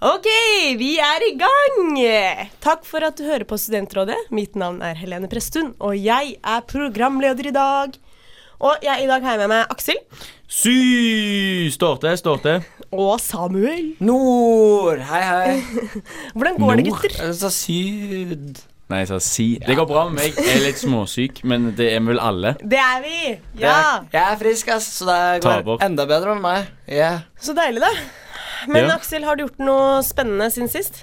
Ok, vi er i gang! Takk for at du hører på Studentrådet. Mitt navn er Helene Presttun, og jeg er programleder i dag. Og jeg, i dag har jeg med meg Aksel Sy står det, står det. og Samuel. Nord! Hei, hei. Hvordan går det, Nord? gutter? Jeg sa syd. Nei, jeg sa si. Det går bra med meg. Jeg er litt småsyk, men det er vel alle. Det er vi! Det Ja! er- Jeg er frisk, ass, så det går Taper. enda bedre med meg. Yeah. Så deilig, da. Men Ja. Aksel, har du gjort noe spennende siden sist?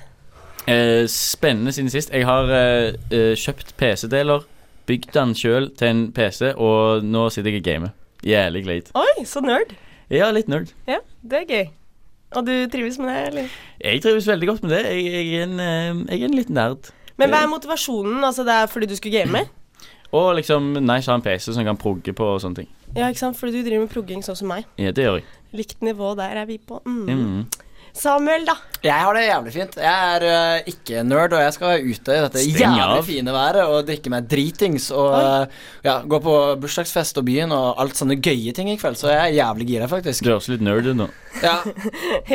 Eh, spennende siden sist. Jeg har eh, eh, kjøpt PC-deler, bygd den sjøl til en PC, og nå sitter jeg og gamer. Jævlig leit. Oi, så nerd. Ja, litt nerd. Ja, det er gøy. Og du trives med det, eller? Jeg trives veldig godt med det. Jeg, jeg, er, en, eh, jeg er en liten nerd. Men hva er motivasjonen? Altså, det er fordi du skulle game? Og liksom nice å ha en PC som kan progge på og sånne ting. Ja, ikke sant? Fordi du driver med progging sånn som meg. Ja, det gjør jeg. Likt nivå der er vi på. Mm. Mm. Samuel, da. Jeg har det jævlig fint. Jeg er eh, ikke nerd, og jeg skal ute i dette Streng jævlig av. fine været og drikke meg dritings og Oi. eh, ja, gå på bursdagsfest og byen og alt sånne gøye ting i kveld, så jeg er jævlig gira, faktisk. Du høres litt nerd ut nå. Ja,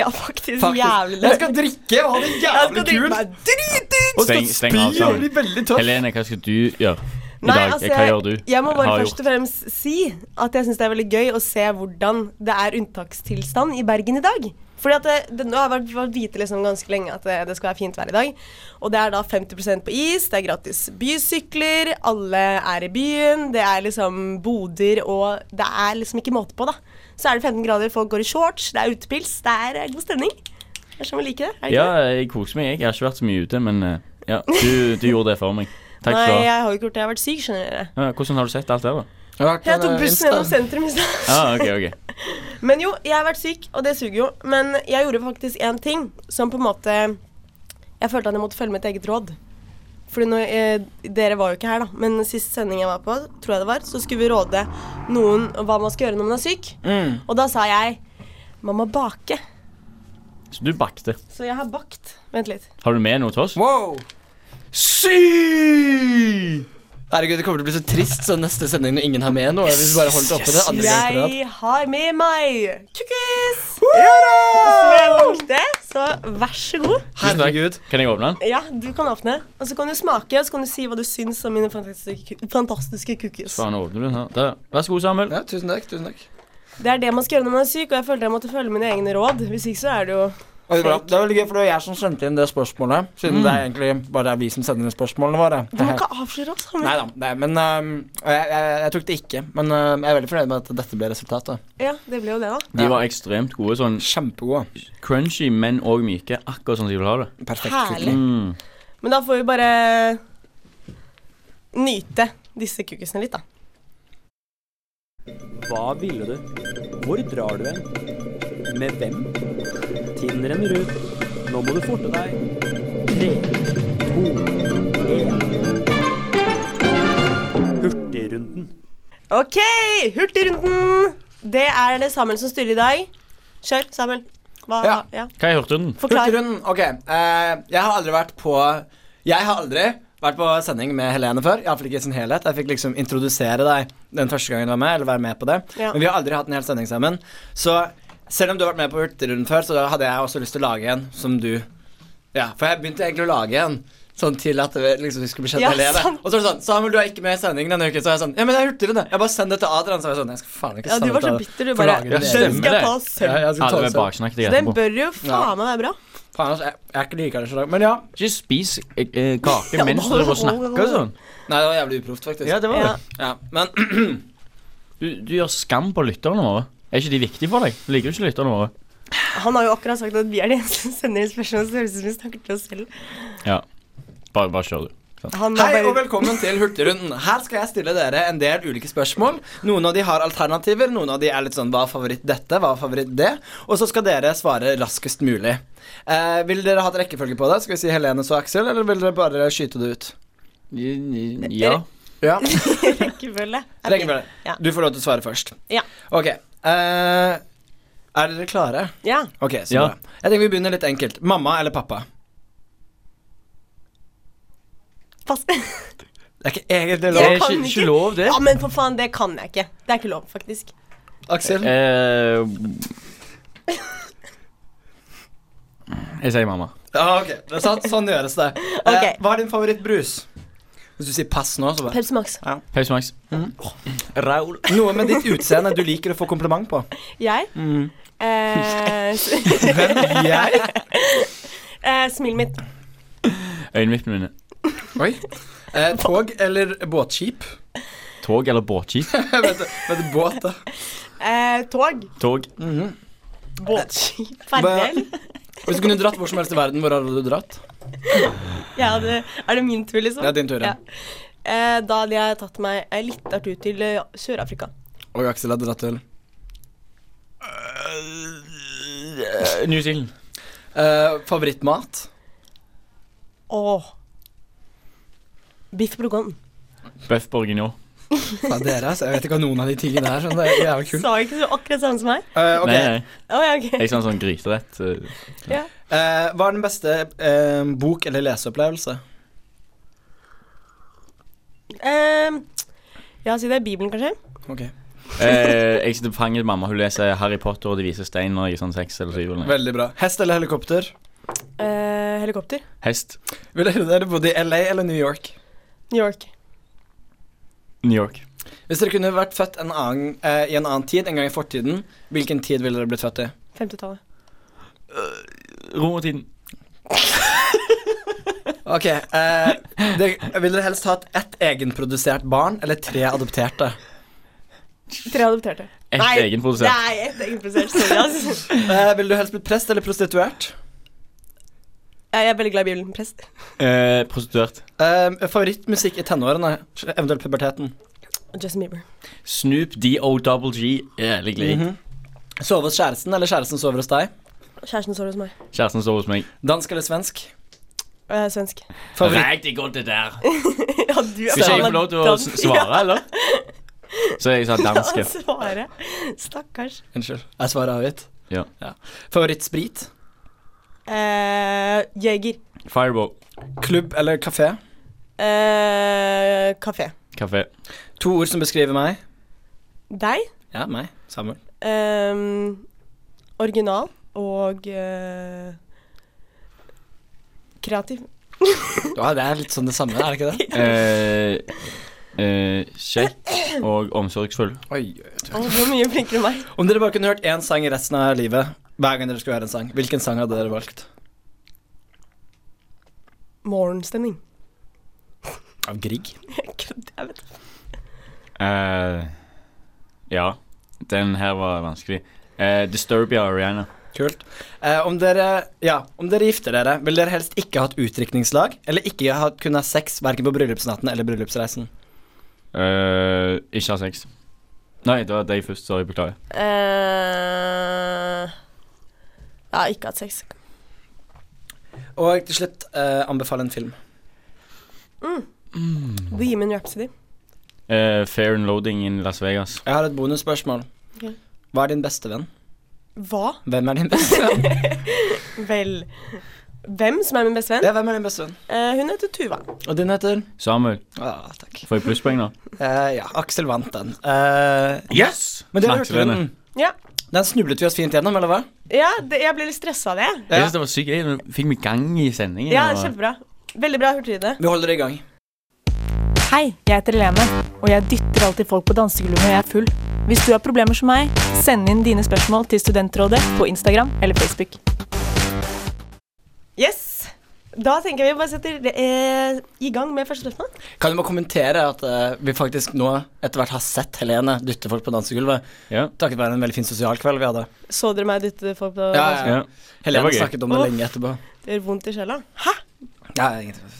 Ja, faktisk. Jævlig faktisk. Jeg skal drikke og ha det jævlig kult. dritings! Og skal Steng- steng spy av, og Samuel. bli veldig tøff. Helene, hva skal du gjøre i Nei, dag? altså, hva gjør du? jeg, jeg må bare Har først og fremst si at jeg syns det er veldig gøy å se hvordan det er unntakstilstand i Bergen i dag. Fordi at det, det, Nå har jeg vært- vært vite liksom ganske lenge at det, det skal være fint vær i dag. Og det er da 50 på is, det er gratis bysykler, alle er i byen, det er liksom boder og Det er liksom ikke måte på, da. Så er det 15 grader, folk går i shorts, det er utepils, det er eh, god stemning. Det er sånn vi liker det. er det ikke Ja, det? jeg koser meg. Jeg har ikke vært så mye ute, men eh, ja, du, du gjorde det for meg. Takk Nei, skal du ha. jeg har jo ikke gjort det. Jeg har vært syk, skjønner dere. Ja, Hvordan har du sett alt det, da? Jeg har vært Jeg på tok en bussen Insta. gjennom sentrum i stad. Ah, ok, ok. Men jo, jeg har vært syk, og det suger jo. Men jeg gjorde faktisk én ting som på en måte Jeg følte at jeg måtte følge mitt eget råd. Fordi når, eh, Dere var jo ikke her, da, men sist sending jeg var på, tror jeg det var, så skulle vi råde noen om hva man skal gjøre når man er syk. Mm. Og da sa jeg man må bake. Så du bakte. Så jeg har bakt. Vent litt. Har du med noe til oss? Wow! Sy! Herregud, det kommer til å bli så trist sånn neste sending når ingen har med noe. Hvis vi bare holder det oppe det andre gang på rad. Jeg har med meg cookies! Som jeg bakte, så vær så god. Tusen takk. Herregud. Kan jeg åpne den? Ja, du kan åpne. Og så kan du smake, og så kan du si hva du syns om mine fantastiske, fantastiske cookies. Faen, åpner du den her? Der. Vær så god, Samuel. Ja, tusen takk. tusen takk Det er det man skal gjøre når man er syk, og jeg følte jeg måtte følge mine egne råd. Hvis ikke så er det jo Oi, bra. Det er veldig gøy, for det var jeg som sendte inn det spørsmålet. Siden det er egentlig bare vi som sender inn spørsmålene våre. Du må ikke avsløre oss. Samuel. Nei da. Nei, men øhm, jeg, jeg, jeg tok det ikke. Men øhm, jeg er veldig fornøyd med at dette ble resultatet. Ja, det ble jo det, da. De var ekstremt gode. Sånn Kjempegode. crunchy, men òg myke. Akkurat sånn som de vil ha det. Perfekt. Herlig. cookie. Mm. Men da får vi bare nyte disse kukisene litt, da. Hva ville du? Hvor drar du hen? Med hvem? Tiden renner ut. Nå må du forte deg. Tre, to, én. Hurtigrunden. OK, hurtigrunden! Det er det Samuel som styrer i dag. Kjør, Samuel. Hva Ja. Ja. Hva er hurtigrunden? Forklar. Hurtigrunden. Ok. eh, jeg har aldri vært på Jeg har aldri vært på sending med Helene før. Iallfall ikke i sin helhet. Jeg fikk liksom introdusere deg den første gangen du var med, eller være med på det. Ja. Men vi har aldri hatt en hel sending sammen. Så selv om du har vært med på Hurtigrunden før, så hadde jeg også lyst til å lage en som du Ja, for jeg begynte egentlig å lage en. Sånn til at det liksom skulle bli kjent Ja, med Helene. sant. Og så er det sånn Samuel, du er ikke med i sendingen denne uken. Så er jeg sånn Ja, men det er Hurtigrunde. Jeg bare send det til Adrian. Så er jeg sånn Jeg skal faen ikke Ja, du sende var det så til bitter, du for bare. lager Ja, Den det stemmer skal det. jeg ta Ja, selv. jeg skal ta Alle det med selv. baksnakk Så deg den etterpå. bør jo faen meg være bra. Faen, altså, jeg, jeg er ikke like kanskje i dag. Men ja. Ikke spis eh, eh, Ja, kake mens du hold- driver og snakker hold- sånn. Nei, det var jævlig uproft, faktisk. Ja, det var det. Ja. Ja, men Du, du gjør skam på lytterne våre. Er ikke de viktige for deg? Du liker jo ikke lytterne våre. Han har jo akkurat sagt at vi er de eneste som sender inn spørsmål, så det høres ut som vi snakker til oss selv. Ja. Bare, bare kjør, du. Han har Hei og bare... velkommen til Hurtigrunden. Her skal jeg stille dere en del ulike spørsmål. Noen av de har alternativer, noen av de er litt sånn hva er favoritt dette, hva er favoritt det? Og så skal dere svare raskest mulig. Eh, vil dere ha et rekkefølge på det? Skal vi si Helene så Aksel, eller vil dere bare skyte det ut? Ja. Ja, Rekkefølge. Er fint. rekkefølge. Ja. Du får lov til å svare først. Ja. Ok. Eh, er dere klare? Ja. Ok, så Ja. bra. Jeg tenker vi begynner litt enkelt. Mamma eller pappa? Pass. Det er ikke egentlig Det lov. er Jeg ikke, kan ikke ikke. lov, det. Ja, men for faen, det kan jeg ikke. Det er ikke lov, faktisk. Aksel? Eh, Jeg sier mamma. Ja, ok, det er sant, Sånn gjøres det. Eh, Ok. hva er din favorittbrus? Hvis du sier pass nå, så bare Pepsi Max. Pepsi Max. Raul. Noe med ditt utseende du liker å få kompliment på. Jeg? Mm. Eh, s- Hvem? Jeg? eh, smilet mitt. Øyenvippene mine. Oi. Eh, tog eller båtskip? Tog eller båtskip? Vet du, vet du, båt, da. Eh, tog. Tog. Mhm. Båtskip. Ferdel. Hvis du kunne dratt hvor som helst i verden, hvor hadde du dratt? Ja, det, er det min tur, liksom? Det er din tur, ja. Ja. Eh, da hadde jeg tatt meg ei lita tur til eh, Sør-Afrika. Og Aksel hadde dratt til. Eh, New Zealand. Eh, favorittmat? Åh. Biff bourgogne. Bøff bourguignon. Fra dere, altså. Jeg vet ikke hva noen av de tingene er. Sånn, det er jævlig kult. Sa ikke du akkurat samme som meg? Eh, ok. Nei, nei. Å ja, ok. Jeg sa en sånn gryterett. eh, Ja. Eh, hva er den beste eh, bok- eller leseopplevelse? Ehm, ja, si det er Bibelen, kanskje. Ok. Eh, jeg sitter på fanget til mamma. Hun leser Harry Potter og De vise stein når jeg er sånn seks eller syv. eller noe. Veldig bra. Hest eller helikopter? Eh, helikopter. Hest. Ville dere bodd i LA eller New York? New York. New York. Hvis dere kunne vært født en annen, eh, i en annen tid, en gang i fortiden, hvilken tid ville dere blitt født i? 50-tallet. Romertiden. Ok, eh, det, Vil dere helst hatt ett egenprodusert barn eller tre adopterte? Tre adopterte. Ett Nei, egenprodusert. Nei, ett egenprodusert. Sorry, ass. Eh, vil du helst bli prest eller prostituert? Jeg er veldig glad i Bibelen. Prest. Eh, prostituert. Eh, favorittmusikk i tenårene, eventuelt puberteten? Justin Bieber. Snoop D-O-double-G. Jævlig glad. Mhm. Sove hos kjæresten eller kjæresten sover hos deg? Kjæresten står hos meg. Kjæresten står hos meg. Dansk eller svensk? Eh, svensk. Favoritt Riktig godt, det der. Ja, du er sånn Skal ikke jeg få lov til å s- svare, eller? Så jeg sa danske. Ja, altså. svare. Stakkars. Unnskyld, er svaret avgitt? Ja. Favorittsprit? Eh, Jeger. Fireball. Klubb eller kafé? Eh, kafé. Kafé. To ord som beskriver meg. Deg. Ja, meg. Samuel. ehm, original og eh, kreativ. Ja, det er litt sånn det samme, er det ikke det? Eh, eh, kjekk og omsorgsfull. Oi, oi, oi. Å, du er mye flinkere enn meg. Om dere bare kunne hørt én sang resten av livet, hver gang dere skulle høre en sang, hvilken sang hadde dere valgt? Morgenstemning. Av Grieg. Jeg kødder, jeg vet. Eh, ja. Den her var vanskelig. Eh, Disturbia og Rihanna. Kult. Eh, om dere ja, om dere gifter dere, vil dere helst ikke ha hatt utdrikningslag, eller ikke ha kunne ha sex verken på bryllupsnatten eller bryllupsreisen? Eh, ikke ha sex. Nei, det var deg først. Sorry, beklager. Eh, jeg har ikke hatt sex. Og til slutt, eh, anbefale en film. Bohemian Rhapsody. Eh, fair and loading in Las Vegas. Jeg har et bonusspørsmål. Ok. Hva er din beste venn? Hva? Hvem er din beste venn? Vel Hvem som er min beste venn? ja, hvem er din beste venn? Eh, hun heter Tuva. Og din heter? Samuel, Ah, takk. får jeg plusspoeng nå? Eh, ja, Aksel vant den. Eh, Yes! men dere hørte den. Ja, Den snublet vi oss fint gjennom, eller hva? ja det, jeg ble litt stressa av det. Jeg synes det var sykt gøy. Det Fikk meg gang i sendingen. Ja, og- kjempebra. Veldig bra hurtigryde. Vi holder i gang. Hei, jeg heter Lene, og jeg dytter alltid folk på dansegulvet når jeg er full. Hvis du har problemer som meg, send inn dine spørsmål til Studentrådet på Instagram eller Facebook. Yes. Da tenker jeg vi bare setter eh, i gang med første spørsmål. Kan du bare kommentere at eh, vi faktisk nå etter hvert har sett Helene dytte folk på dansegulvet? Ja. Takket være en veldig fin sosial kveld vi hadde. Så dere meg dytte folk på Ja, ja, ja. Det var Helene gøy. snakket om det Uff. lenge etterpå. Det gjør vondt i sjela. Hæ? Ja, ingenting.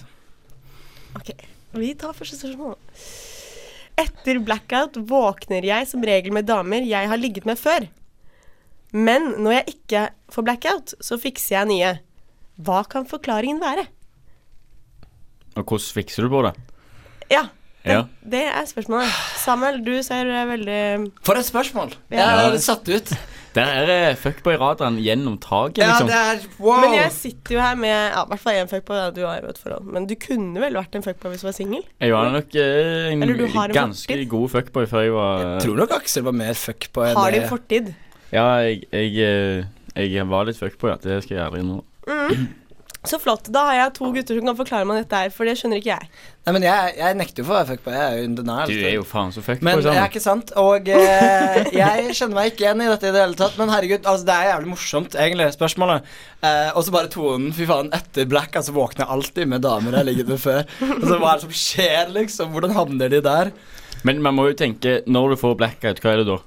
Ok, vi tar første spørsmål. Etter blackout våkner jeg som regel med damer jeg har ligget med før. Men når jeg ikke får blackout, så fikser jeg nye. Hva kan forklaringen være? Og hvordan fikser du på det? Ja, det, Ja. det er spørsmålet. Samuel, du ser eh, veldig For et spørsmål! Ja. Jeg er litt satt ut. Der er det eh, fuckboy-radaren gjennom taket, Ja, liksom. det er wow! Men jeg sitter jo her med ja, i hvert fall én fuckboy. Ja, du har jo et forhold. Men du kunne vel vært en fuckboy hvis du var singel? Jeg var nok eh, en Eller du har en ganske fortid. god fuckboy før jeg var eh, Tror nok Aksel var mer fuck på enn Har du det. fortid? Ja, jeg, jeg, eh, jeg var litt fuckboy, ja. Det skal jeg ærlig innrømme. Så flott. Da har jeg to gutter som kan forklare meg dette her, for det skjønner ikke jeg. Nei, men jeg, jeg nekter jo for å være fuckboy. Jeg er jo in denial. Du er jo faen så fuckboy, Men det er sant? ikke sant, og eh, jeg kjenner meg ikke igjen i dette i det hele tatt. Men herregud, altså, det er jævlig morsomt, egentlig, spørsmålet. Eh, og så bare tonen, fy faen, etter Black, altså våkner jeg alltid med damer jeg har ligget med før. Altså, hva er det som skjer, liksom? Hvordan havner de der? Men man må jo tenke, når du får blackout, hva er det da?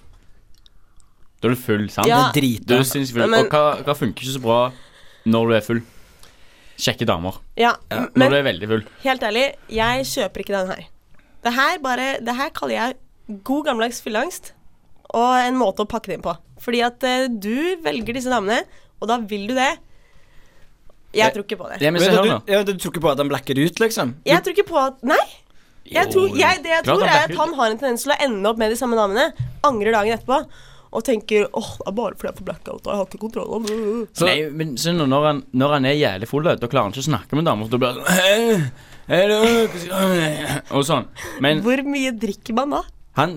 Da er du full, sant? Ja. Det er drit, Du da. er sinnssykt full. Nei, men- Og hva, hva funker ikke så bra når du er full? Kjekke damer. Ja, Når Men du er veldig full. helt ærlig, jeg kjøper ikke den her. Det her, bare, det her kaller jeg god gammeldags fylleangst og en måte å pakke det inn på. Fordi at eh, du velger disse damene, og da vil du det. Jeg tror ikke på det. Jeg Men, så, du, ja, du tror ikke på at han blacker ut, liksom? Jeg tror ikke på at Nei! Jeg tror, jeg, det jeg Klart tror, han er at blacker han har en tendens til å ende opp med de samme damene, angrer dagen etterpå og tenker åh, det er bare fordi jeg får blackout og jeg har ikke kontroll. over det». Så, Nei, men så nå, når, han, når han er jævlig full, da da klarer han ikke å snakke med damer. for Da blir han sånn, «Hei, hei, hei», Og sånn. Men Hvor mye drikker man da? han,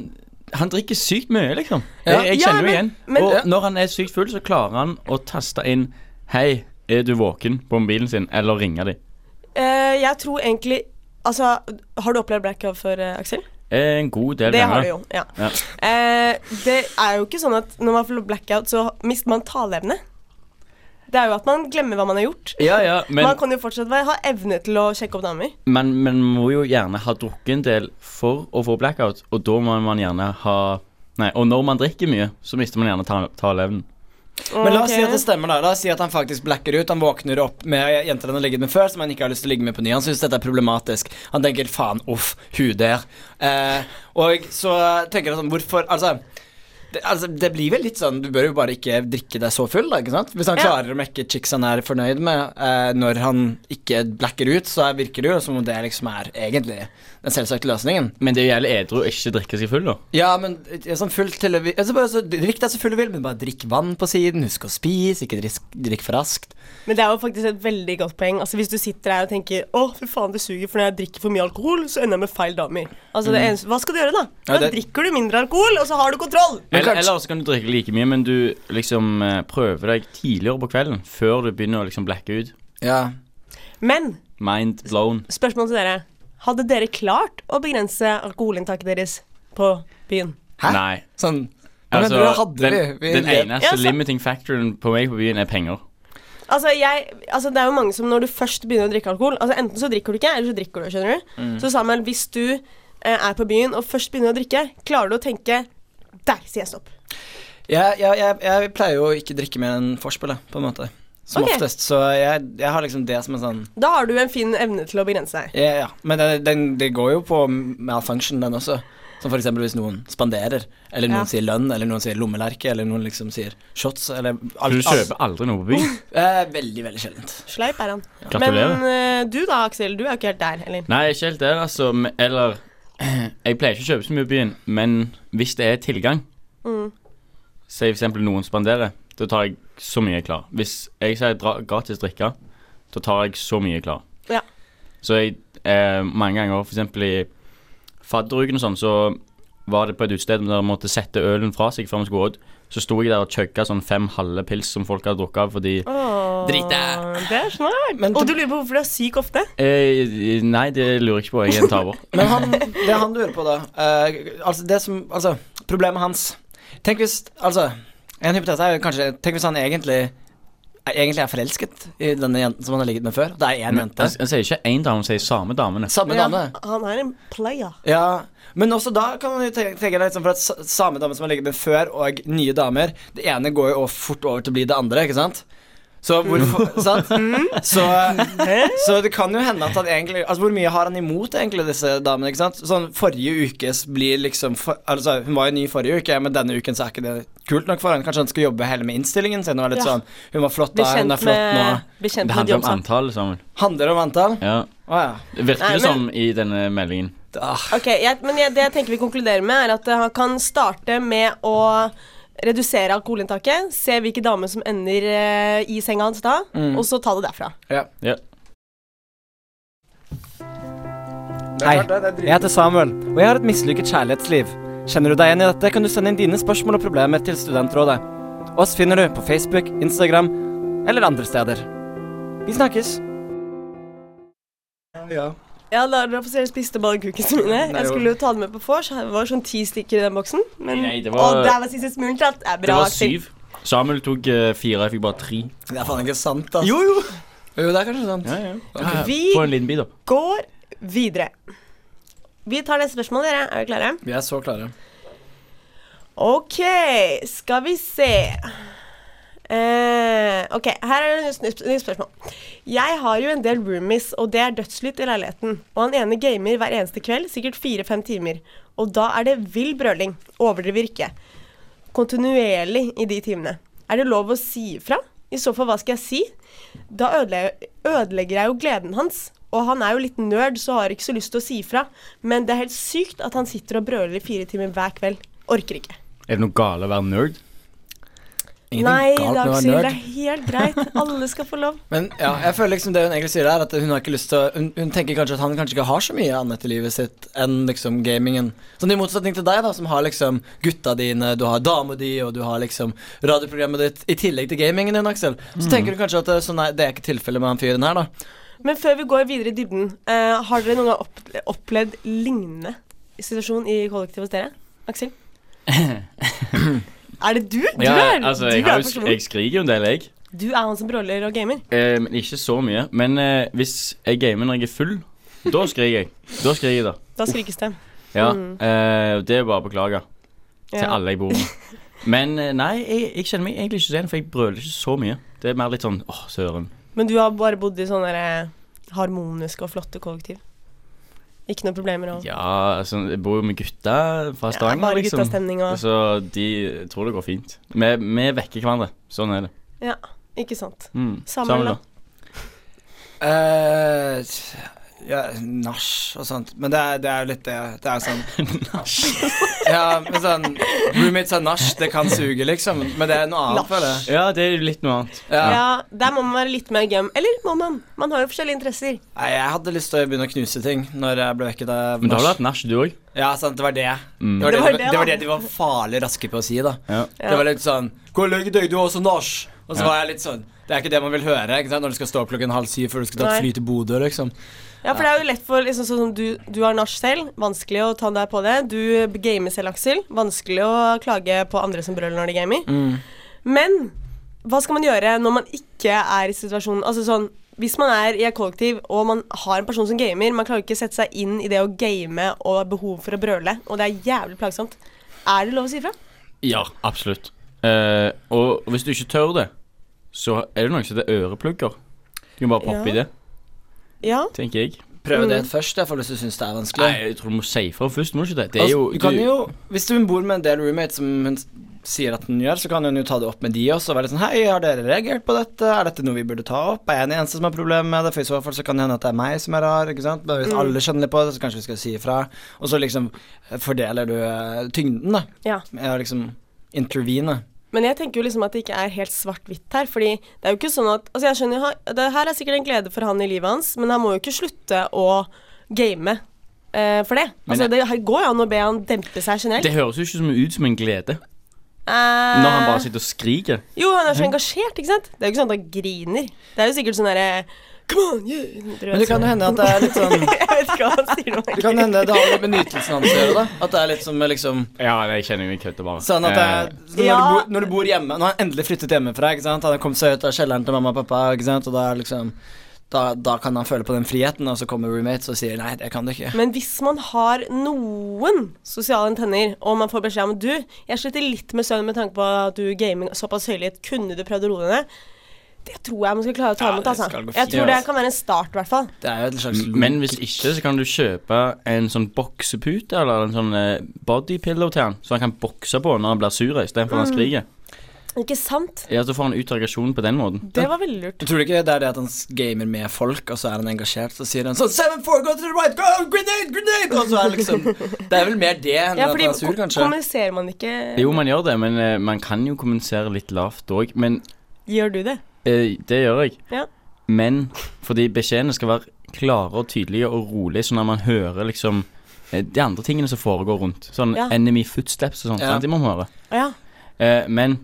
han drikker sykt mye, liksom. Ja. Jeg, jeg Ja, kjenner jo igjen. men- men- og når han er sykt full, så klarer han å taste inn 'Hei, er du våken?' på mobilen sin, eller ringe dem. Eh, jeg tror egentlig Altså, har du opplevd blackout før, eh, Aksel? En god del Det har ganger. du jo. Ja. Ja. Eh, det er jo ikke sånn at når man får blackout, så mister man taleevne. Det er jo at man glemmer hva man har gjort. Ja, ja, men man kan jo fortsatt være- ha evne til å sjekke opp damer. Men man må jo gjerne ha drukket en del for å få blackout, og da må man gjerne ha Nei, og når man drikker mye, så mister man gjerne ta- taleevnen. Men la oss Ok. si at det stemmer, da. La oss si at han faktisk blacker ut. Han våkner opp med jenter han har ligget med før, som han ikke har lyst til å ligge med på ny. Han syns dette er problematisk. Han tenker 'faen, uff, hun der'. Eh, og så tenker han sånn Hvorfor Altså. Det, altså, det blir vel litt sånn Du bør jo bare ikke drikke deg så full, da. ikke sant? Hvis han Ja. klarer å mekke chicks han er fornøyd med, eh, når han ikke blacker ut, så virker det jo som om det liksom er egentlig den selvsagte løsningen. Men det gjelder edru å ikke drikke seg full, da. Ja, men eh, sånn full til altså bare, så, Drikk deg så full du vil, men bare drikk vann på siden. Husk å spise, ikke drikk, drikk for raskt. Men det er jo faktisk et veldig godt poeng. Altså Hvis du sitter her og tenker Å, fy faen, det suger, for når jeg drikker for mye alkohol, så ender jeg med feil damer. Altså det eneste, Hva skal du gjøre, da? Da Ja, det- drikker du mindre alkohol, og så har du kontroll. Men Eller, kanskje- eller så kan du drikke like mye, men du liksom eh, prøver deg tidligere på kvelden, før du begynner å liksom blacke ut. Ja. Men Mind blown. spørsmål til dere. Hadde dere klart å begrense alkoholinntaket deres på byen? Hæ? Nei. Altså, Sånn Hva mener du hadde den, vi? altså- vi? den eneste Ja, så- limiting factoren på meg på byen er penger. Altså, jeg, altså Det er jo mange som når du først begynner å drikke alkohol Altså Enten så drikker du ikke, eller så drikker du. skjønner du? Så Samuel, hvis du eh, er på byen og først begynner å drikke, klarer du å tenke Der sier jeg stopp. jeg, jeg, jeg, jeg pleier jo å ikke drikke mer enn forspillet, på en måte. Som Ok. oftest. Så jeg, jeg har liksom det som en sånn Da har du en fin evne til å begrense deg. Ja, ja. Men det, den, det går jo på malfunction, den også. Som for eksempel hvis noen spanderer, eller noen Ja. sier lønn, eller noen sier lommelerke, eller noen liksom sier shots, eller Så alt. du kjøper aldri noe på byen. Eh, veldig, veldig sjeldent. Sleip er han. Gratulerer. Men eh, du da, Aksel. Du er jo ikke helt der, eller? Nei, ikke helt det, altså. men- Eller Jeg pleier ikke å kjøpe så mye i byen, men hvis det er tilgang Si for eksempel noen spanderer, da tar jeg så mye jeg klarer. Hvis jeg sier dra- gratis drikke, da tar jeg så mye jeg klarer. Ja. Så jeg eh, mange ganger, for eksempel i fadderuken og sånn, så var det på et utested der man måtte sette ølen fra seg før man skulle gå ut. Så sto jeg der og chugga sånn fem halve pils som folk hadde drukket av fordi Drite. Det er smart. Men- Og du lurer på hvorfor du er syk ofte? eh, Nei, det lurer jeg ikke på. Jeg er en taper. Men han, det han lurer på, da eh, Altså, det som Altså, problemet hans Tenk hvis Altså, en hypotese er jo kanskje Tenk hvis han egentlig er- Egentlig er forelsket i denne jenten som han har ligget med før. Det er én Men altså, jente. han, han sier ikke én dame, han sier samme damene. Samme dame. Ja, han er en player. Ja, Men også da kan man jo tenke, tenke deg liksom for at sa- samme dame som har ligget med før, og nye damer Det ene går jo fort over til å bli det andre, ikke sant? Så hvorfor Sant? Mm. Så, så det kan jo hende at han egentlig Altså Hvor mye har han imot egentlig disse damene? ikke sant? Sånn Forrige ukes blir liksom for, Altså Hun var jo ny forrige uke, men denne uken så er ikke det kult nok for henne. Kanskje han skal jobbe heller med innstillingen sin. Og være litt Ja. sånn Hun var flott Bli da, hun er kjent flott nå. med, bli kjent Det med handler om jobbsamtalen. antall, Samuel. Handler det om antall? Ja. Å ja. Det virker Nei, det men- som i denne meldingen. Ah. Ok, jeg, men jeg, Det jeg tenker vi konkluderer med, er at eh, han kan starte med å redusere alkoholinntaket, se hvilke damer som ender eh, i senga hans da, Ah, mm. og så ta det derfra. Ja. Ja. Hei, jeg heter Samuel, og jeg har et mislykket kjærlighetsliv. Kjenner du deg igjen i dette, kan du sende inn dine spørsmål og problemer til Studentrådet. Oss finner du på Facebook, Instagram eller andre steder. Vi snakkes. Ja. Ja, da dere på seriøst spiste ballekukene mine. Nei, Jeg jo. skulle jo ta det med på vors. Det var sånn ti stykker i den boksen. Men Nei, det var- Å, der var siste smulen tatt. Det er Det bra. var Aksel. syv. Samuel tok eh, fire, jeg fikk bare tre. Det er faen ikke sant, altså. Jo, jo. Jo, det er kanskje sant. Ja, ja. Vi- Få en liten bit, da. Går videre. Vi tar det spørsmålet, dere. Er dere klare? Vi er så klare. Ok, skal vi se. Eh, ok, her er det et nytt- nytt spørsmål. Jeg har jo en del roomies, og det er dødslytt i leiligheten. Og han ene gamer hver eneste kveld, sikkert fire-fem timer. Og da er det vill brøling. Overdriver ikke. Kontinuerlig i de timene. Er det lov å si ifra? I så fall, hva skal jeg si? Da ødele ødelegger jeg jo gleden hans. Og han er jo litt nerd, så har ikke så lyst til å si ifra. Men det er helt sykt at han sitter og brøler i fire timer hver kveld. Orker ikke. Er det noe gale å være nerd? Nei, galt med å være Dagsrevyen, nerd. det er helt greit. Alle skal få lov. Men ja, jeg føler liksom det hun egentlig sier der, at hun har ikke lyst til å hun, hun tenker kanskje at han kanskje ikke har så mye annet i livet sitt enn liksom gamingen. Sånn i motsetning til deg, da, som har liksom gutta dine, du har dama di, og du har liksom radioprogrammet ditt i tillegg til gamingen din, Aksel. Så tenker du kanskje at eh, sånn, nei, det er ikke tilfellet med han fyren her, da. Men før vi går videre i dybden, eh, har dere noen gang opp opplevd lignende situasjon i kollektivet hos dere? Aksel? er det du? Du er, altså, du jeg, er har jo, personen. jeg skriker jo en del, jeg. Du er han som bråler og gamer. Eh, men ikke så mye. Men eh, hvis jeg gamer når jeg er full, da skriker jeg. Da skriker jeg, da. Da skrikes det. Ja. Mm. eh, det er bare å beklage til Ja. alle jeg bor med. Men eh, nei, jeg, jeg kjenner meg egentlig ikke igjen, for jeg brøler ikke så mye. Det er mer litt sånn åh, søren. Men du har bare bodd i sånne der, eh, harmoniske og flotte kollektiv. Ikke noen problemer å Ja, altså, jeg bor jo med gutta fra Ja, Stavanger, Bare liksom. guttastemning og Så de jeg tror det går fint. Vi, vi vekker hverandre. Sånn er det. Ikke sant. Mm. Samuel, da? eh ja, Nach og sånt. Men det er, det er jo litt det. Det er jo sånn Ja, men sånn Roommates har nach, det kan suge, liksom. Men det er noe annet, føler jeg. Ja, det er jo litt noe annet. Ja. Ja. der må man være litt mer gam. Eller må man? Man har jo forskjellige interesser. Nei, jeg hadde lyst til å begynne å knuse ting når jeg ble vekket av Men da har du nach. hatt nach, du òg. Ja, sant, det var det. Mm. Det var det, Det var det, det, var da. det de var farlig raske på å si, da. Ja. Ja. Det var litt sånn Hvor lenge døde du også nach? Og så Ja. var jeg litt sånn Det er ikke det man vil høre ikke sant? når du skal stå opp klokken halv syv før du skal ta Nei. et fly til Bodø, liksom. Ja, for det er jo lett for liksom sånn som du, du har nach selv, vanskelig å ta deg på det. Du gamer selv, Aksel. Vanskelig å klage på andre som brøler når de gamer. Men hva skal man gjøre når man ikke er i situasjonen Altså sånn hvis man er i et kollektiv og man har en person som gamer, man klarer ikke å sette seg inn i det å game og har behov for å brøle, og det er jævlig plagsomt. Er det lov å si ifra? Ja, absolutt. Eh, og hvis du ikke tør det, så er det noe som heter øreplugger. Du kan bare poppe Ja. i det, Ja. tenker jeg. Prøv Mm. det først, jeg, for hvis du syns det er vanskelig. Nei, jeg tror du må si ifra først, må du ikke det? Det er jo, altså, du kan jo, Hvis du bor med en del roommates som hun s- sier at hun gjør, så kan hun jo ta det opp med de også og være litt sånn Hei, har dere reagert på dette? Er dette noe vi burde ta opp? Er jeg den eneste som har problemer med det? For i så fall så kan det hende at det er meg som er rar, ikke sant. Men hvis Mm. alle skjønner litt på det, så kanskje vi skal si ifra. Og så liksom fordeler du eh, tyngden, da. Ja. Med å liksom intervene. Men jeg tenker jo liksom at det ikke er helt svart-hvitt her. fordi det er jo ikke sånn at Altså, jeg skjønner ha- Det her er sikkert en glede for han i livet hans, men han må jo ikke slutte å game eh, for det. Men Altså, jeg- det her går jo an å be han dempe seg generelt. Det høres jo ikke som, ut som en glede Eh, når han bare sitter og skriker. Jo, han er så engasjert, ikke sant? Det er jo ikke sånn at han griner. Det er jo sikkert sånn derre Come on, you Men det kan jo hende at det er litt sånn Jeg vet ikke hva han sier nå. Det kan hende det har litt med nytelsen hans å gjøre, da. At det er litt som eh, liksom Ja, jeg kjenner meg kødder bare. Sånn at det Eh. er, så når, Ja. du bor, når du bor hjemme Nå har han endelig flyttet hjemmefra, ikke sant? Han har kommet seg ut av kjelleren til mamma og pappa, ikke sant? Og da er liksom da, da kan han føle på den friheten, og så kommer roommates og sier nei, det kan du ikke. Men hvis man har noen sosiale antenner, og man får beskjed om du, jeg sliter litt med søvn med tanke på at du gamer såpass høylytt, kunne du prøvd å roe deg ned? Det tror jeg man skal klare å ta Ja, imot. det Altså. skal gå Jeg fint, tror det altså. kan være en start, i hvert fall. Det er jo et slags Men hvis ikke, så kan du kjøpe en sånn boksepute eller en sånn eh, bodypillow til han, så han kan bokse på når han blir sur istedenfor Mm. han skriker. Ikke sant? Ja, Så får han ut aggresjonen på den måten. Det var veldig lurt. Tror du ikke det er det at han s- gamer med folk, og så er han engasjert, så sier han sånn Seven, four, go to the right, go, grenade, grenade! Og så er det liksom Det er vel mer det enn Ja, at fordi han er sur, ko- kanskje. kommuniserer man ikke Jo, man gjør det, men eh, man kan jo kommunisere litt lavt òg. Men Gjør du det? Eh, det gjør jeg. Ja. Men fordi beskjedene skal være klare og tydelige og rolige, sånn at man hører liksom eh, de andre tingene som foregår rundt. Sånn Ja. enemy footsteps og sånn, sånt. Ja. sant? De må man høre. Å ja. Eh, men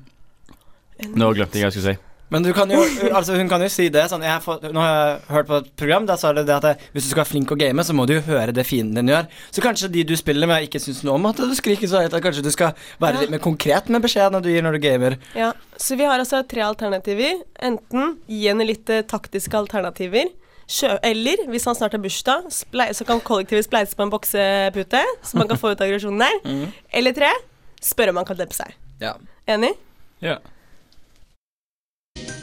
Nå glemte jeg hva jeg skulle si. Men du kan jo, altså hun kan jo si det sånn jeg har fått, Nå har jeg hørt på et program, der sa det det at eh, hvis du skal være flink å game, så må du jo høre det fienden din gjør. Så kanskje de du spiller med, ikke syns noe om at du skriker så høyt. at Kanskje du skal være Ja. litt mer konkret med beskjedene du gir når du gamer. Ja, så vi har altså tre alternativer. Enten gi henne litt eh, taktiske alternativer. Kjø eller, hvis han snart har bursdag, splei- så kan kollektivet spleise på en boksepute. Så man kan få ut aggresjonen der. Mm. Eller tre, spørre om han kan dempe seg. Ja. Enig? Ja.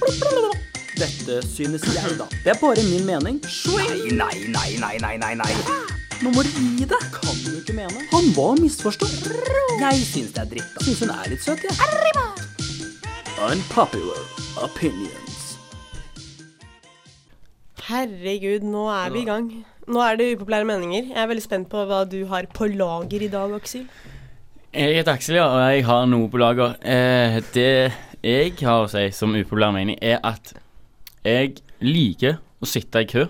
Dette synes jeg, da. Det er bare min mening. Nei, nei, nei, nei, nei, nei. Nå må du gi deg. Kan du ikke mene? Han var misforstått. Jeg syns det er dritt. da. Syns hun er litt søt, jeg. Unpopular opinions. Herregud, nå er vi i gang. Nå er det upopulære meninger. Jeg er veldig spent på hva du har på lager i dag, Aksel. Jeg heter Aksel, ja, og jeg har noe på lager. Eh, det jeg har å si som upopulær mening, er at jeg liker å sitte i kø.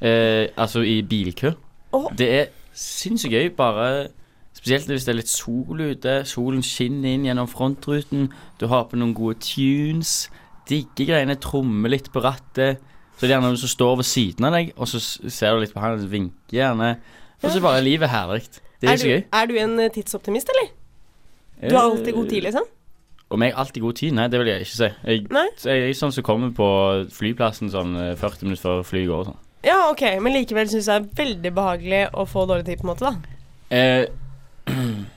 Eh, altså i bilkø. Åh. Det er sinnssykt gøy, bare spesielt hvis det er litt sol ute. Solen skinner inn gjennom frontruten. Du har på noen gode tunes. Digge greiene. Trommer litt på rattet. Så er det gjerne noen som står ved siden av deg, og så s- ser du litt på han, vinker gjerne. Og så bare er livet herlig. Det er Er, så gøy. Eh, du- er du en eh, tidsoptimist, eller? Du har alltid god tid, liksom? Om jeg alltid har god tid? Nei, det vil jeg ikke si. Jeg, Nei? jeg er sånn som kommer på flyplassen sånn eh, 40 minutter før flyet går og sånn. Ja, OK, men likevel syns jeg det er veldig behagelig å få dårlig tid, på en måte, da. Eh,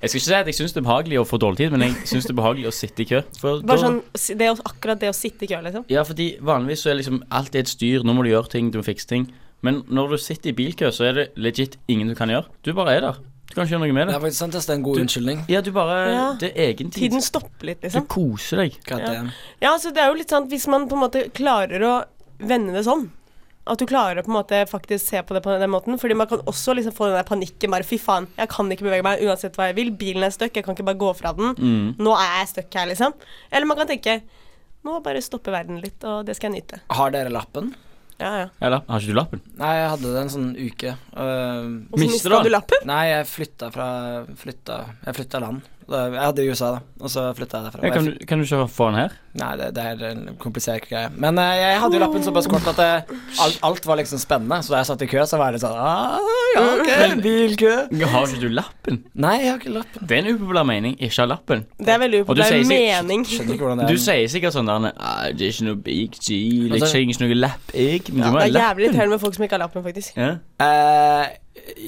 jeg skal ikke si at jeg syns det er behagelig å få dårlig tid, men jeg syns det er behagelig å sitte i kø. For Bare da- sånn, si- det å, akkurat det å sitte i kø, liksom. Ja, fordi vanligvis så er liksom alt er et styr. Nå må du gjøre ting, du må fikse ting. Men når du sitter i bilkø, så er det legit ingen du kan gjøre. Du bare er der. Du kan ikke gjøre noe med Det det. er faktisk sant, ass, det er en god Du- unnskyldning. Ja, du bare Ja. Det er egen tid. Tiden stopper litt, Du liksom. koser deg. Hva Ja. heter det? Ja, så det er jo litt sånn at hvis man på en måte klarer å vende det sånn at du klarer å på en måte faktisk se på det på den måten. Fordi man kan også liksom få den der panikken bare Fy faen, jeg kan ikke bevege meg uansett hva jeg vil. Bilen er stuck, jeg kan ikke bare gå fra den. Mm. Nå er jeg stuck her, liksom. Eller man kan tenke Nå bare stopper verden litt, og det skal jeg nyte. Har dere lappen? Ja, ja. Eller har ikke du lappen? Nei, jeg hadde det en sånn uke. Øh, Og så Mister mista du du lappen? nei, jeg flytta fra Flytta Jeg flytta land. Da- Jeg hadde i USA, da, og så flytta jeg derfra. Ja, Jeg kan, du, kan du ikke få den her? Nei, det, det er en komplisert greie. Men eh, jeg hadde jo lappen såpass kort at eh, alt, alt var liksom spennende. Så da jeg satt i kø, så var det sånn ah, ja, ok, bilkø. Har ikke du lappen? Nei, jeg har ikke lappen. Det er en upopulær mening, ikke ha lappen. Det er veldig Og du upopulær sier sikkert- mening. Skjønner ikke hvordan det Du er. sier sikkert sånn der ah, Det er ikke noe big deal, jeg Altså- trenger ikke noe lapp, jeg. Men Ja, du det må er ha jævlig lappen. irriterende med folk som ikke har lappen, faktisk. Ja. Eh,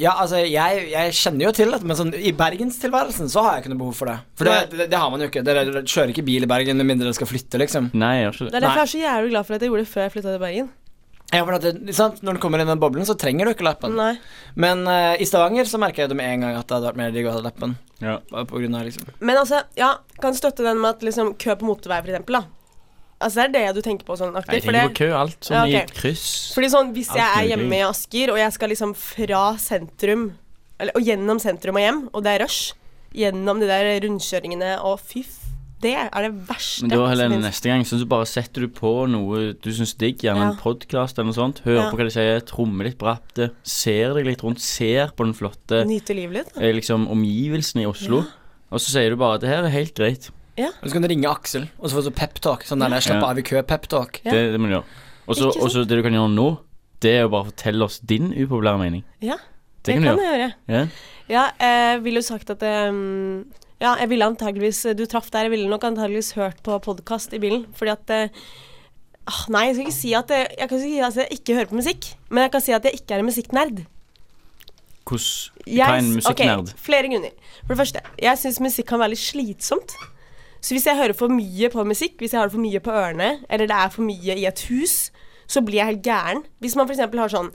ja, altså, jeg, jeg kjenner jo til dette, men sånn, i bergenstilværelsen så har jeg ikke noe behov for det. For det, det, det har man jo ikke. Dere kjører ikke bil i Bergen med mindre dere skal flytte, liksom. Nei, jeg gjør ikke Det det. er derfor jeg er så jævlig glad for at jeg gjorde det før jeg flytta til Bergen. Ja, for at det, ikke sant? Når du kommer inn i den boblen, så trenger du ikke lappen. Nei. Men eh, i Stavanger så merker jeg det med en gang at det hadde vært mer digg å ha lappen. Ja. Bare på grunn av liksom Men altså, ja, kan støtte den med at liksom, kø på motorvei, for eksempel, da. Altså, det er det du tenker på sånn Nei, aktivt. Jeg For det, tenker på kø, alt sånn Ja, ok. i et kryss. fordi sånn, hvis jeg Alt er mulig. hjemme i Asker, og jeg skal liksom fra sentrum, eller, og gjennom sentrum og hjem, og det er rush, gjennom de der rundkjøringene, og fy f... Det er det verste. Men da, Helene, som finnes. neste gang så bare setter du på noe du syns er digg, gjerne Ja. en podkast eller noe sånt. Hører Ja. på hva de sier, trommer litt på rattet, ser deg litt rundt, ser på den flotte Nyte livet litt. eh, liksom, omgivelsen i Oslo. Og så sier du bare at det her er helt greit. Og så kan du ringe Aksel, og så få sånn peptalk. Sånn der, der slapp Ja. av i kø, peptalk. Ja. Det, det må du gjøre. Og så- Ikke Og så sant? det du kan gjøre nå, det er å bare fortelle oss din upopulære mening. Ja, Det kan du gjøre. jeg gjøre. Ja. Ja, jeg ville jo sagt at ehm, Ja, jeg ville antageligvis eh, Du traff der. Jeg ville nok antageligvis hørt på podkast i bilen. Fordi at eh, ah, Nei, jeg skal ikke si at jeg, jeg kan ikke si at jeg ikke hører på musikk. Men jeg kan si at jeg ikke er en musikknerd. Hvordan Jeg Hva er en s- ok, musikknerd? flere grunner. For det første, jeg syns musikk kan være litt slitsomt. Så hvis jeg hører for mye på musikk, hvis jeg har det for mye på ørene, eller det er for mye i et hus, så blir jeg helt gæren. Hvis man f.eks. har sånn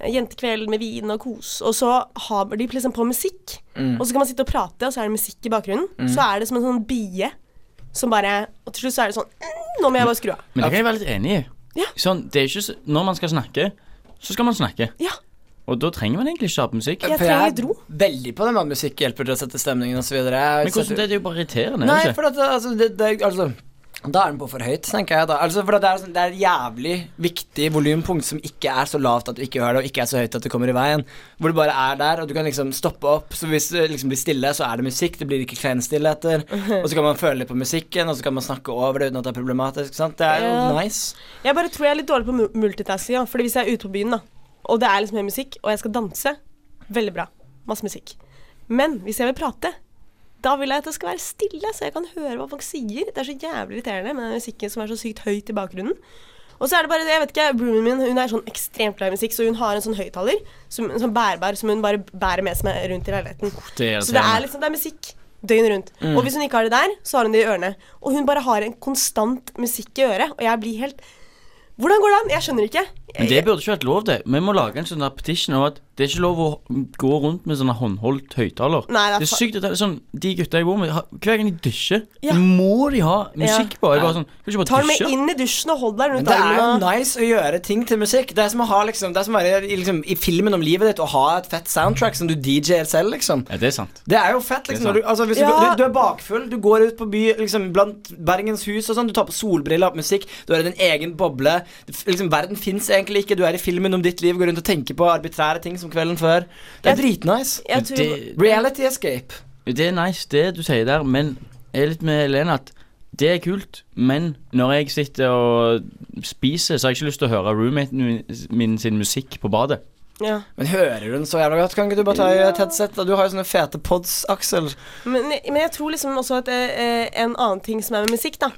eh, jentekveld med vin og kos, og så har de liksom på musikk, og så kan man sitte og prate, og så er det musikk i bakgrunnen, så er det som en sånn bie som bare Og til slutt så er det sånn mm, Nå må jeg bare skru av. Men det kan jeg være litt enig i. Ja. Sånn, det er ikke så, når man skal snakke, så skal man snakke. Ja. Og da trenger man egentlig ikke ha på musikk. Jeg For trenger er dro. Veldig på den med at musikk hjelper til å sette stemningen osv. Men hvordan, det, det er jo bare irriterende. Nei, er det ikke? for at, altså, det, det, altså Da er den på for høyt, tenker jeg. da altså, For det er, sånn, det er et jævlig viktig volumpunkt som ikke er så lavt at du ikke hører det, og ikke er så høyt at det kommer i veien. Hvor det bare er der, og du kan liksom stoppe opp. Så hvis det liksom blir stille, så er det musikk. Det blir ikke kleine stillheter. Og så kan man føle litt på musikken, og så kan man snakke over det uten at det er problematisk. Sant? Det er jo Ja. nice. Jeg bare tror jeg er litt dårlig på mu- multitasking. Ja. Fordi hvis jeg er ute på byen, da, og det er liksom mye musikk, og jeg skal danse, veldig bra. Masse musikk. Men hvis jeg vil prate, da vil jeg at det skal være stille, så jeg kan høre hva folk sier. Det er så jævlig irriterende med den musikken som er så sykt høyt i bakgrunnen. Og så er det bare det, jeg vet ikke, Roomien min hun er sånn ekstremt glad i musikk, så hun har en sånn høyttaler, som- en sånn bærbar, som hun bare bærer med seg med rundt i leiligheten. Det er Så det er irriterende. liksom, det er musikk døgnet rundt. Mm. Og hvis hun ikke har det der, så har hun det i ørene. Og hun bare har en konstant musikk i øret, og jeg blir helt Hvordan går det an? Jeg skjønner ikke. Men det burde ikke vært lov, det. Vi må lage en sånn der petition om at det er ikke lov å gå rundt med sånne håndholdt høyttaler. Nei, det er Det er fa- sykt at det er sånn De gutta jeg bor med, har- hver gang de dusjer, Ja. så må de ha musikk på. Jeg bare sånn Kan du ikke Ta den bare med dusje? inn i dusjen og hold deg rundt Men det er jo armen. og- nice å gjøre ting til musikk. Det er som å ha liksom, det er som å være i- liksom, i filmen om livet ditt og ha et fett soundtrack som du DJ-er selv, liksom. Ja, det er sant. Det er jo fett, Det liksom. er Når du, altså, hvis du, Ja. du, du er bakfull, du går ut på by liksom, blant Bergens hus og sånn, du tar på solbriller, har på musikk, du er i din egen boble. Det f- Liksom, verden fins egentlig ikke, du er i filmen om ditt liv, går rundt og tenker på arbitrære ting som kvelden før. Det er dritnice. Jeg Men tror, det, Reality escape. det er nice, det du sier der, men jeg er litt med Helene at det er kult, men når jeg sitter og spiser, så har jeg ikke lyst til å høre roommaten min- min sin musikk på badet. ja. Men hører du den så jævla godt? Kan ikke du bare ta i et headset? da? Du har jo sånne fete pods, Aksel. men, men jeg tror liksom også at eh, eh, en annen ting som er med musikk, da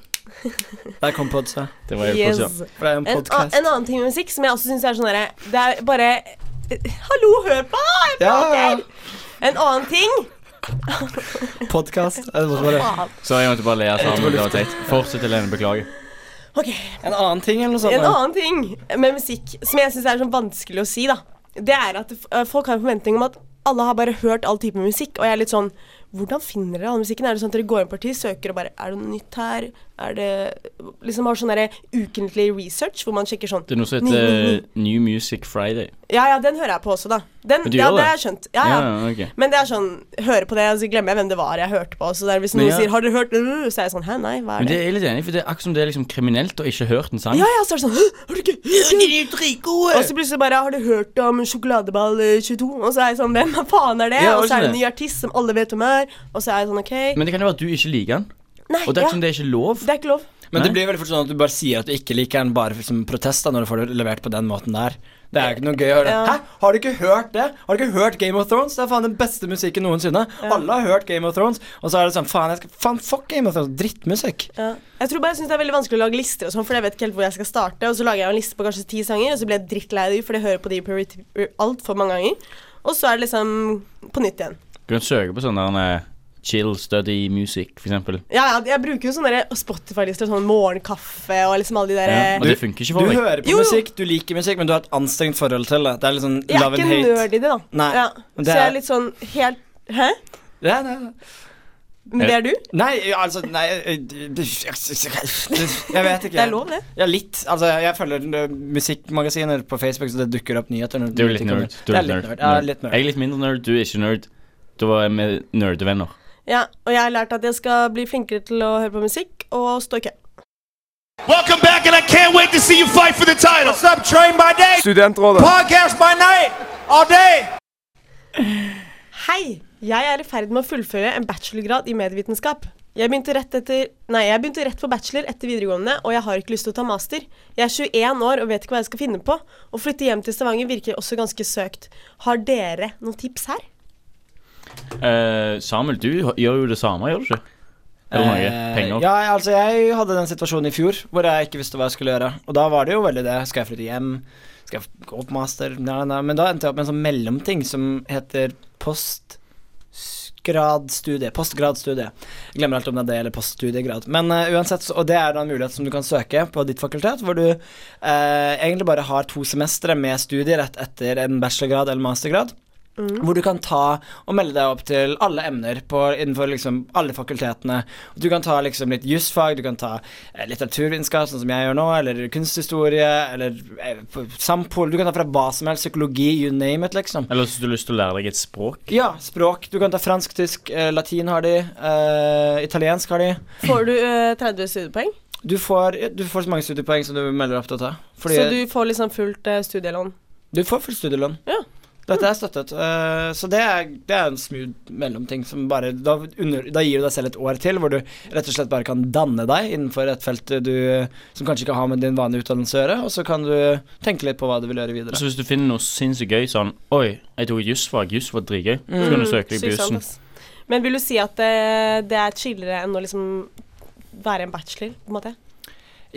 Der kom pods, ja. Det var jeg Yes. på å si. For det er jo en en, a- podcast en annen ting med musikk som jeg også syns er sånn derre Det er bare eh, Hallo, hør på! Jeg Ja, ja, ja. prater! En annen ting Podcast. Ja, det var bare- Faen. Så jeg måtte bare le sammen. Det var teit. Fortsett, Helene. Beklager. OK. En annen ting eller noe sånt? En da? annen ting med musikk som jeg syns er sånn vanskelig å si, da, det er at eh, folk har en forventning om at alle har bare hørt all type musikk, og jeg er litt sånn Hvordan finner dere all musikken? Er det sånn at dere går inn på artist, søker og bare Er det noe nytt her? Er det Liksom har sånn derre ukentlig research hvor man sjekker sånn Det er noe som Ny, ny, heter ny. New Music Friday. Ja ja, den hører jeg på også, da. Den, Men du ja, gjør det har det? jeg skjønt. Ja, ja. ok. Men det er sånn Hører på det, og så glemmer jeg hvem det var jeg hørte på. Så det er hvis Men noen ja. sier 'Har dere hørt?' øh», så er jeg sånn 'Hæ, nei, hva er Men det det?' er jeg litt enig, i, for det er akkurat som det er liksom kriminelt å ikke hørt en sang. Ja ja, så er det sånn «Hæ, 'Har du ikke hørt det?» Og så plutselig bare 'Har du hørt om Sjokoladeball eh, 22?' Og så er jeg sånn 'Hvem faen er det?' Ja, og så er det en det. ny artist som alle vet hvem er. Og så er jeg sånn 'OK'. Men det kan jo være at du ikke liker den. Nei, Og det er ja, ikke som det er ikke lov. det er ikke lov. Men det Nei. blir veldig fort sånn at du bare sier at du ikke liker den bare for- som protest da, når du får det levert på den måten der. Det er jo ikke noe gøy å høre. Ja. Hæ? Har du ikke hørt det? Har du ikke hørt Game of Thrones? Det er faen den beste musikken noensinne. Alle har hørt Game of Thrones, og så er det sånn faen, jeg skal, faen fuck Game of Thrones. Drittmusikk. Ja. Jeg tror bare jeg synes det er veldig vanskelig å lage lister, og sånn, for jeg vet ikke helt hvor jeg skal starte. Og så lager jeg en liste på kanskje ti sanger, og så blir jeg drittlei av dem, for jeg hører på de på repeat altfor mange ganger. Og så er det liksom på nytt igjen. Du kan søke på sånn der eh, chill study music, for eksempel. Ja, ja, jeg bruker jo sånne der Spotify-lister, sånn morgenkaffe og liksom alle de der Ja. Og Du- det funker ikke Du for deg. hører på Jo, jo. musikk, du liker musikk, men du har et anstrengt forhold til det. Det er litt sånn Jeg er love and ikke hate. nerd i det, da. Nei, ja. men Så jeg det er- er litt sånn helt Hæ? Ja, nei, nei. Men det er du? nei, altså Nei Jeg vet ikke. Det er lov, det. Ja, litt. Altså, jeg følger eh, musikkmagasiner på Facebook, så det dukker opp nyheter. når Du er jo musikk litt kommer. nerd. Du Det er er litt nerd. Ja, litt nerd. Jeg er litt mindre nerd, du er ikke nerd. Da var jeg med nerdevenner. Ja, Og jeg har lært at jeg skal bli flinkere til å høre på musikk og stå i kø. Welcome back, and I can't wait to see you fight for the title. What's up, train by day? Studentrådet. Podcast by night. All day. Hei! Jeg er i ferd med å fullføre en bachelorgrad i medievitenskap. Jeg begynte rett, etter, nei, jeg begynte rett på bachelor etter videregående, og jeg har ikke lyst til å ta master. Jeg er 21 år og vet ikke hva jeg skal finne på. Å flytte hjem til Stavanger virker også ganske søkt. Har dere noen tips her? Eh, Samuel, du h- gjør jo det samme, gjør du ikke? Eller noe? Eh, Penger? Ja, jeg- altså Jeg hadde den situasjonen i fjor hvor jeg ikke visste hva jeg skulle gjøre. Og da var det jo veldig det. Skal jeg flytte hjem? Skal jeg gå på master? Nei, nei. Men da endte jeg opp med en sånn mellomting som heter postgradstudie. Postgradstudie. Jeg glemmer alltid om det er det eller poststudiegrad. Men eh, uansett, så- og det er da en mulighet som du kan søke på ditt fakultet, hvor du eh, egentlig bare har to semestre med studier rett etter en bachelorgrad eller mastergrad. Hvor du kan ta og melde deg opp til alle emner på, innenfor liksom alle fakultetene. Du kan ta liksom litt jusfag, du kan ta eh, litteraturvitenskap, sånn som jeg gjør nå, eller kunsthistorie, eller eh, på- sampol Du kan ta fra hva som helst, psykologi, you name it, liksom. Eller så har du lyst til å lære deg et språk? Ja, språk. Du kan ta fransk, tysk, eh, latin har de, eh, italiensk har de. Får du eh, 30 studiepoeng? Du får, du får så mange studiepoeng som du melder opp til å ta. Fordi Så du får liksom fullt eh, studielån. du får full studielånn. Ja. Dette er støttet. eh, så det er, det er en smooth mellomting som bare da, under, da gir du deg selv et år til hvor du rett og slett bare kan danne deg innenfor et felt du som kanskje ikke har med din vanlige utdannelse å gjøre, og så kan du tenke litt på hva du vil gjøre videre. Så hvis du finner noe sinnssykt gøy sånn Oi, jeg tok et jussfag. Juss var dritgøy. Så kan du søke deg på Sykt sant, jussen. ass. Mm. Men vil du si at eh, det, det er chillere enn å liksom være en bachelor, på en måte?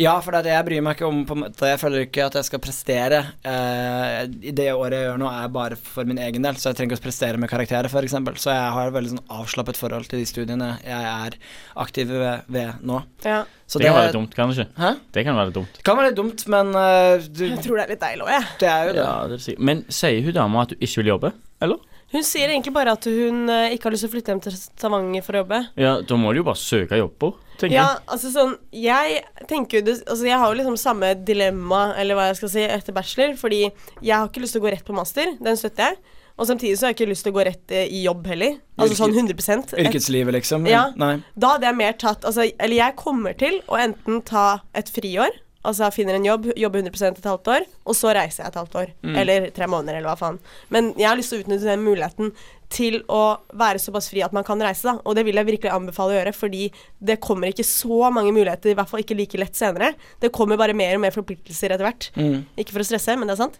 Ja, for det, er det jeg bryr meg ikke om på en måte. Jeg føler ikke at jeg skal prestere. Eh, i det året jeg gjør nå, er bare for min egen del, så jeg trenger ikke å prestere med karakterer, f.eks. Så jeg har et veldig sånn avslappet forhold til de studiene jeg er aktiv ved, ved nå. Ja. Så Det kan være litt dumt, kan det ikke? Hæ? Det kan være litt dumt. Det kan være litt dumt, men eh, du, Jeg tror det er litt deilig òg, jeg. det er jo det. Ja, det er sikkert. Men sier hun dama at du ikke vil jobbe? Eller? Hun sier egentlig bare at hun eh, ikke har lyst til å flytte hjem til Stavanger for å jobbe. Ja, da må du jo bare søke jobber, tenker Ja, jeg. altså sånn Jeg tenker jo det Altså jeg har jo liksom samme dilemma, eller hva jeg skal si, etter bachelor. Fordi jeg har ikke lyst til å gå rett på master. Den støtter jeg. Og samtidig så har jeg ikke lyst til å gå rett eh, i jobb heller. Altså sånn 100 Yrkeslivet, liksom. Ja. Nei. Da hadde jeg mer tatt altså, Eller jeg kommer til å enten ta et friår, altså jeg finner en jobb, jobber 100 et halvt år, og så reiser jeg et halvt år. Eller tre måneder, eller hva faen. Men jeg har lyst til å utnytte den muligheten til å være såpass fri at man kan reise, da. Og det vil jeg virkelig anbefale å gjøre, fordi det kommer ikke så mange muligheter, i hvert fall ikke like lett senere. Det kommer bare mer og mer forpliktelser etter hvert. Ikke for å stresse, men det er sant.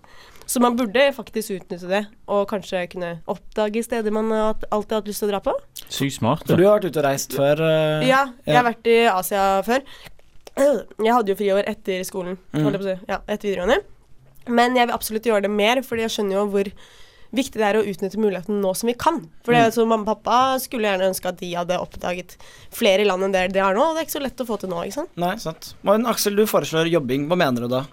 Så man burde faktisk utnytte det, og kanskje kunne oppdage steder man har hatt- alltid har hatt lyst til å dra på. Sykt smart. da. For du har vært ute og reist før? eh, Ja, jeg ja. har vært i Asia før. Jeg hadde jo friår etter skolen, holdt jeg på å si. Ja, etter videregående. Men jeg vil absolutt gjøre det mer, fordi jeg skjønner jo hvor viktig det er å utnytte muligheten nå som vi kan. For det er jo sånn, mamma og pappa skulle gjerne ønske at de hadde oppdaget flere land enn det de har nå, og det er ikke så lett å få til nå, ikke sant. Nei, sant. Men Aksel, du foreslår jobbing. Hva mener du da?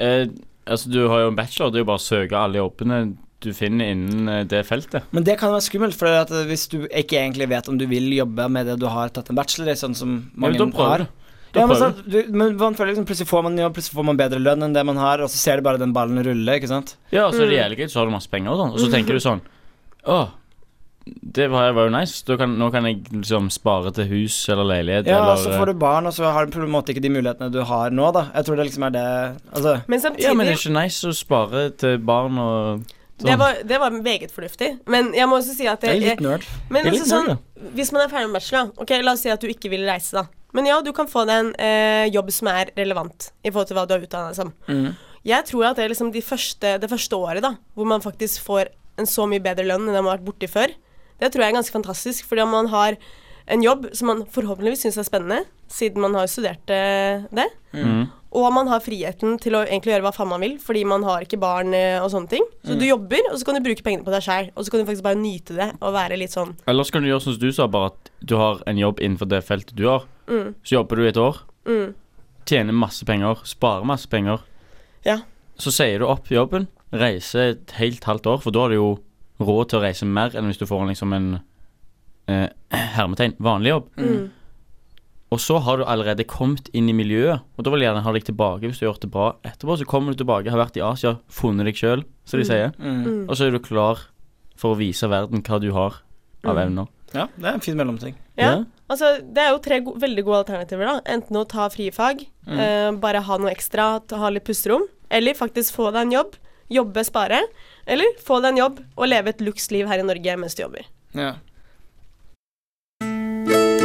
Eh, altså, du har jo en bachelor. Det er jo bare å søke alle jobbene du finner innen eh, det feltet. Men det kan være skummelt, for at eh, hvis du ikke egentlig vet om du vil jobbe med det du har tatt en bachelor i, sånn som mange ja, men da prøver har du. Da ja, men, prøver sant, du, men man føler liksom Plutselig får man jobb, plutselig får man bedre lønn enn det man har, og så ser du bare den ballen rulle, ikke sant? Ja, altså, det gjelder ikke, så har du masse penger og sånn. Og så tenker du sånn Å, det var var jo nice. Da kan, nå kan jeg liksom spare til hus eller leilighet Ja, eller og så får du barn, og så har du på en måte ikke de mulighetene du har nå, da. Jeg tror det liksom er det Altså Men Ja, men samtidig det er ikke nice å spare til barn og sånn. det var, det var meget fornuftig. Men jeg må også si at Det jeg, er litt nerd. Men Det er altså, litt sånn, nerd, hvis man er ferdig med bachelor, da. ok, la oss si at du ikke vil reise, da. Men ja, du kan få deg en eh, jobb som er relevant i forhold til hva du har utdanna deg som. Mm, Jeg tror at det er liksom de første, det første året, da, hvor man faktisk får en så mye bedre lønn enn det man har vært borti før, det tror jeg er ganske fantastisk. Fordi om man har en jobb som man forhåpentligvis syns er spennende, siden man har studert eh, det, sånn. Mm. og man har friheten til å egentlig gjøre hva faen man vil, fordi man har ikke barn eh, og sånne ting. Så du jobber, og så kan du bruke pengene på deg sjæl, og så kan du faktisk bare nyte det og være litt sånn Ellers kan du gjøre som du sa, bare at du har en jobb innenfor det feltet du har. Mm. Så jobber du et år, tjener masse penger, sparer masse penger. Ja. Så sier du opp jobben, reiser et helt halvt år, for da har du jo råd til å reise mer enn hvis du får en liksom en eh, hermetegn, vanlig jobb. Mm. Og så har du allerede kommet inn i miljøet, og da vil jeg gjerne ha deg tilbake hvis du har gjort det bra etterpå. Så kommer du tilbake, har vært i Asia, funnet deg sjøl, som Mm. de sier. mm. Og så er du klar for å vise verden hva du har av evner. Ja, det er en fin mellomting. Mm. Ja. Ja. Altså, det er jo tre go veldig gode alternativer, da. Enten å ta frifag, Mm. eh, bare ha noe ekstra, ta, ha litt pusterom. Eller faktisk få deg en jobb, jobbe, spare. Eller få deg en jobb og leve et luksliv her i Norge mens du jobber. Ja.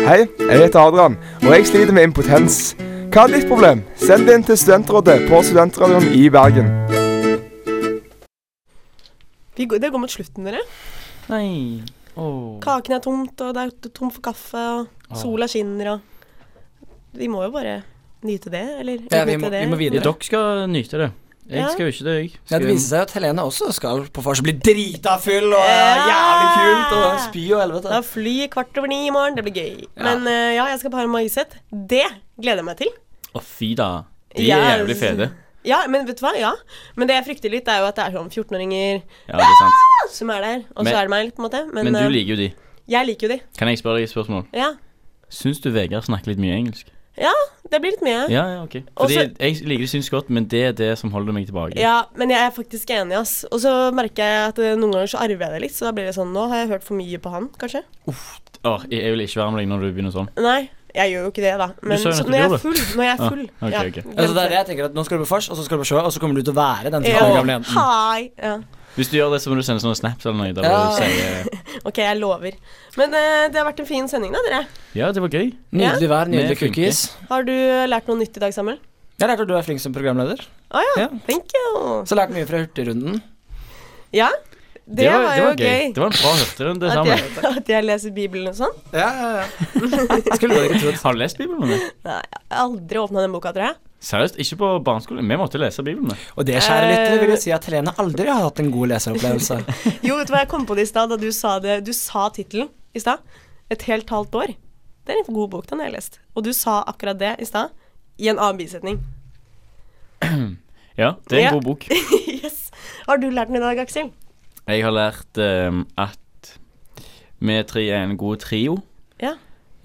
Hei, jeg heter Adrian, og jeg sliter med impotens. Hva er ditt problem? Send det inn til Studentrådet på Studentradioen i Bergen. Vi går, det går mot slutten, dere. Nei. Åh. Kaken er tomt, og det er tomt for kaffe, og sola skinner, og Vi må jo bare nyte det, eller Ja, vi utnytte må- det. vi må videre. Ja, dere skal nyte det. Jeg Ja. skal jo ikke det, jeg. Ja, Skal... det viser seg jo at Helene også skal på vors og bli drita full og eh, Ja! jævlig kult og spy og helvete. Da flyr jeg kvart over ni i morgen. Det blir gøy. Men eh, ja, jeg skal på Harald Magiseth. Det gleder jeg meg til. Å, fy da. De er Yes. jævlig fede. Ja, men vet du hva? Ja. Men det jeg frykter litt, er jo at det er sånn 14-åringer Ja, det er sant. som er der. Og så Men- er det meg, litt, på en måte. Men, Men eh, du liker jo de. jeg liker jo de. Kan jeg spørre deg et spørsmål? Ja. Syns du Vegard snakker litt mye engelsk? ja, det blir litt mye. Ja, Ja, ja, ok. Fordi Også- jeg liker det syns godt, men det er det som holder meg tilbake. men jeg er faktisk enig, ass. Og så merker jeg at eh, noen ganger så arver jeg det litt, så da blir det sånn Nå har jeg hørt for mye på han, kanskje. Åh, jeg jeg vil ikke være med deg når du begynner sånn. Nei. Jeg gjør jo ikke det, da. Men sa jo så, nettopp når jeg du er full. Når jeg Ah, er full. ok, ja, ok. Altså, det er det glemte jeg tenker at Nå skal du på vors, og så skal du på sjø, og så kommer du til å være den 13 Ja. år gamle jenten. Hei. Ja. Hvis du gjør det, så må du sende sånne snaps eller noe. Der Ja. hvor du eh, sier OK, jeg lover. Men eh, det har vært en fin sending, da, dere. Ja, det var gøy. Nydelig vær, Med nydelig funker. cookies. Har du eh, lært noe nytt i dag, Samuel? Jeg lærte at du er flink som programleder. Å ja. Ja. Thank you. Så lærte mye fra Hurtigrunden. Ja. Det, var, jo gøy. Det var en bra hurtigrunde at, sammen. jeg, at jeg leser Bibelen og sånn. Ja, ja, ja. Skulle du ikke trodd. Har du lest Bibelen? eller? Nei, jeg har aldri åpna den boka, tror jeg. Seriøst, ikke på barneskolen. Vi måtte lese Bibelen. da. Og det, kjære lyttere, Eh. vil jo si at Helene aldri har hatt en god leseropplevelse. Jo, vet du hva jeg kom på det i stad da du sa det Du sa tittelen i stad. Et helt halvt år. Det er en god bok, den har jeg lest. Og du sa akkurat det i stad. I en annen bisetning. Ja, det er en Ja. god bok. yes. Har du lært den i dag, Aksel? Jeg har lært ehm, at vi tre er en god trio. Ja.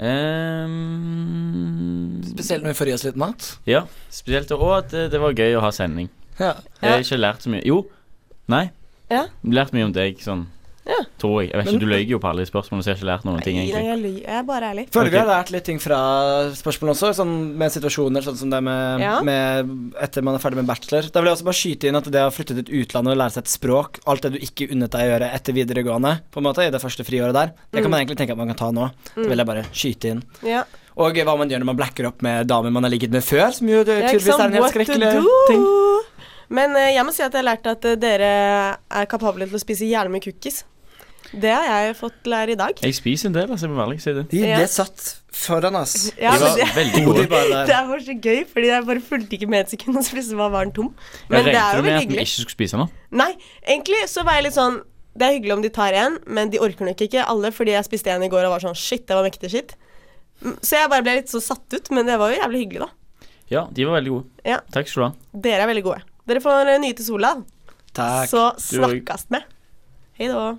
Ehm, Spesielt når vi får i oss litt mat. ja, spesielt Og at eh, det var gøy å ha sending. Ja. Jeg har Ja. ikke lært så mye Jo, nei. Ja. Lært mye om deg, sånn. Ja. Tror jeg. Jeg vet ikke, Du løy jo på alle de spørsmålene, så jeg har ikke lært noen ting, Nei, nei, egentlig. jeg lyver. Jeg er bare ærlig. Føler Ok. vi har lært litt ting fra spørsmålene også, sånn med situasjoner sånn som det med, Ja. med etter man er ferdig med bachelor. Da vil jeg også bare skyte inn at det å flytte til utlandet og lære seg et språk, alt det du ikke unnet deg å gjøre etter videregående, på en måte, i det første friåret der, Mm. det kan man egentlig tenke at man kan ta nå. Det vil jeg bare skyte inn. Ja. Og hva man gjør når man blacker opp med damer man har ligget med før, som jo det Det er ikke tydeligvis er sånn en helt what to skrekkelig do. ting. Men eh, jeg må si at jeg har lært at eh, dere er kapable til å spise jævlig mye cookies. Det har jeg fått lære i dag. Jeg spiser en del, altså. Jeg må være ærlig og si det. De Ja. ble satt foran oss. Ja, De men var det, veldig De gode. bare det der. er bare så gøy, fordi jeg bare fulgte ikke med et sekund, og så plutselig var varen tom. Jeg Men det er regnet jo med veldig at vi hyggelig. ikke skulle spise nå. Nei, egentlig så var jeg litt sånn Det er hyggelig om de tar en, men de orker nok ikke alle, fordi jeg spiste en i går og var sånn shit, det var mektig shit. Mm, Så jeg bare ble litt så satt ut, men det var jo jævlig hyggelig, da. Ja, de var veldig gode. Ja. Takk skal du ha. Dere er veldig gode. Dere får eh, nyte sola, Takk. så Du òg. snakkes med. Hei da.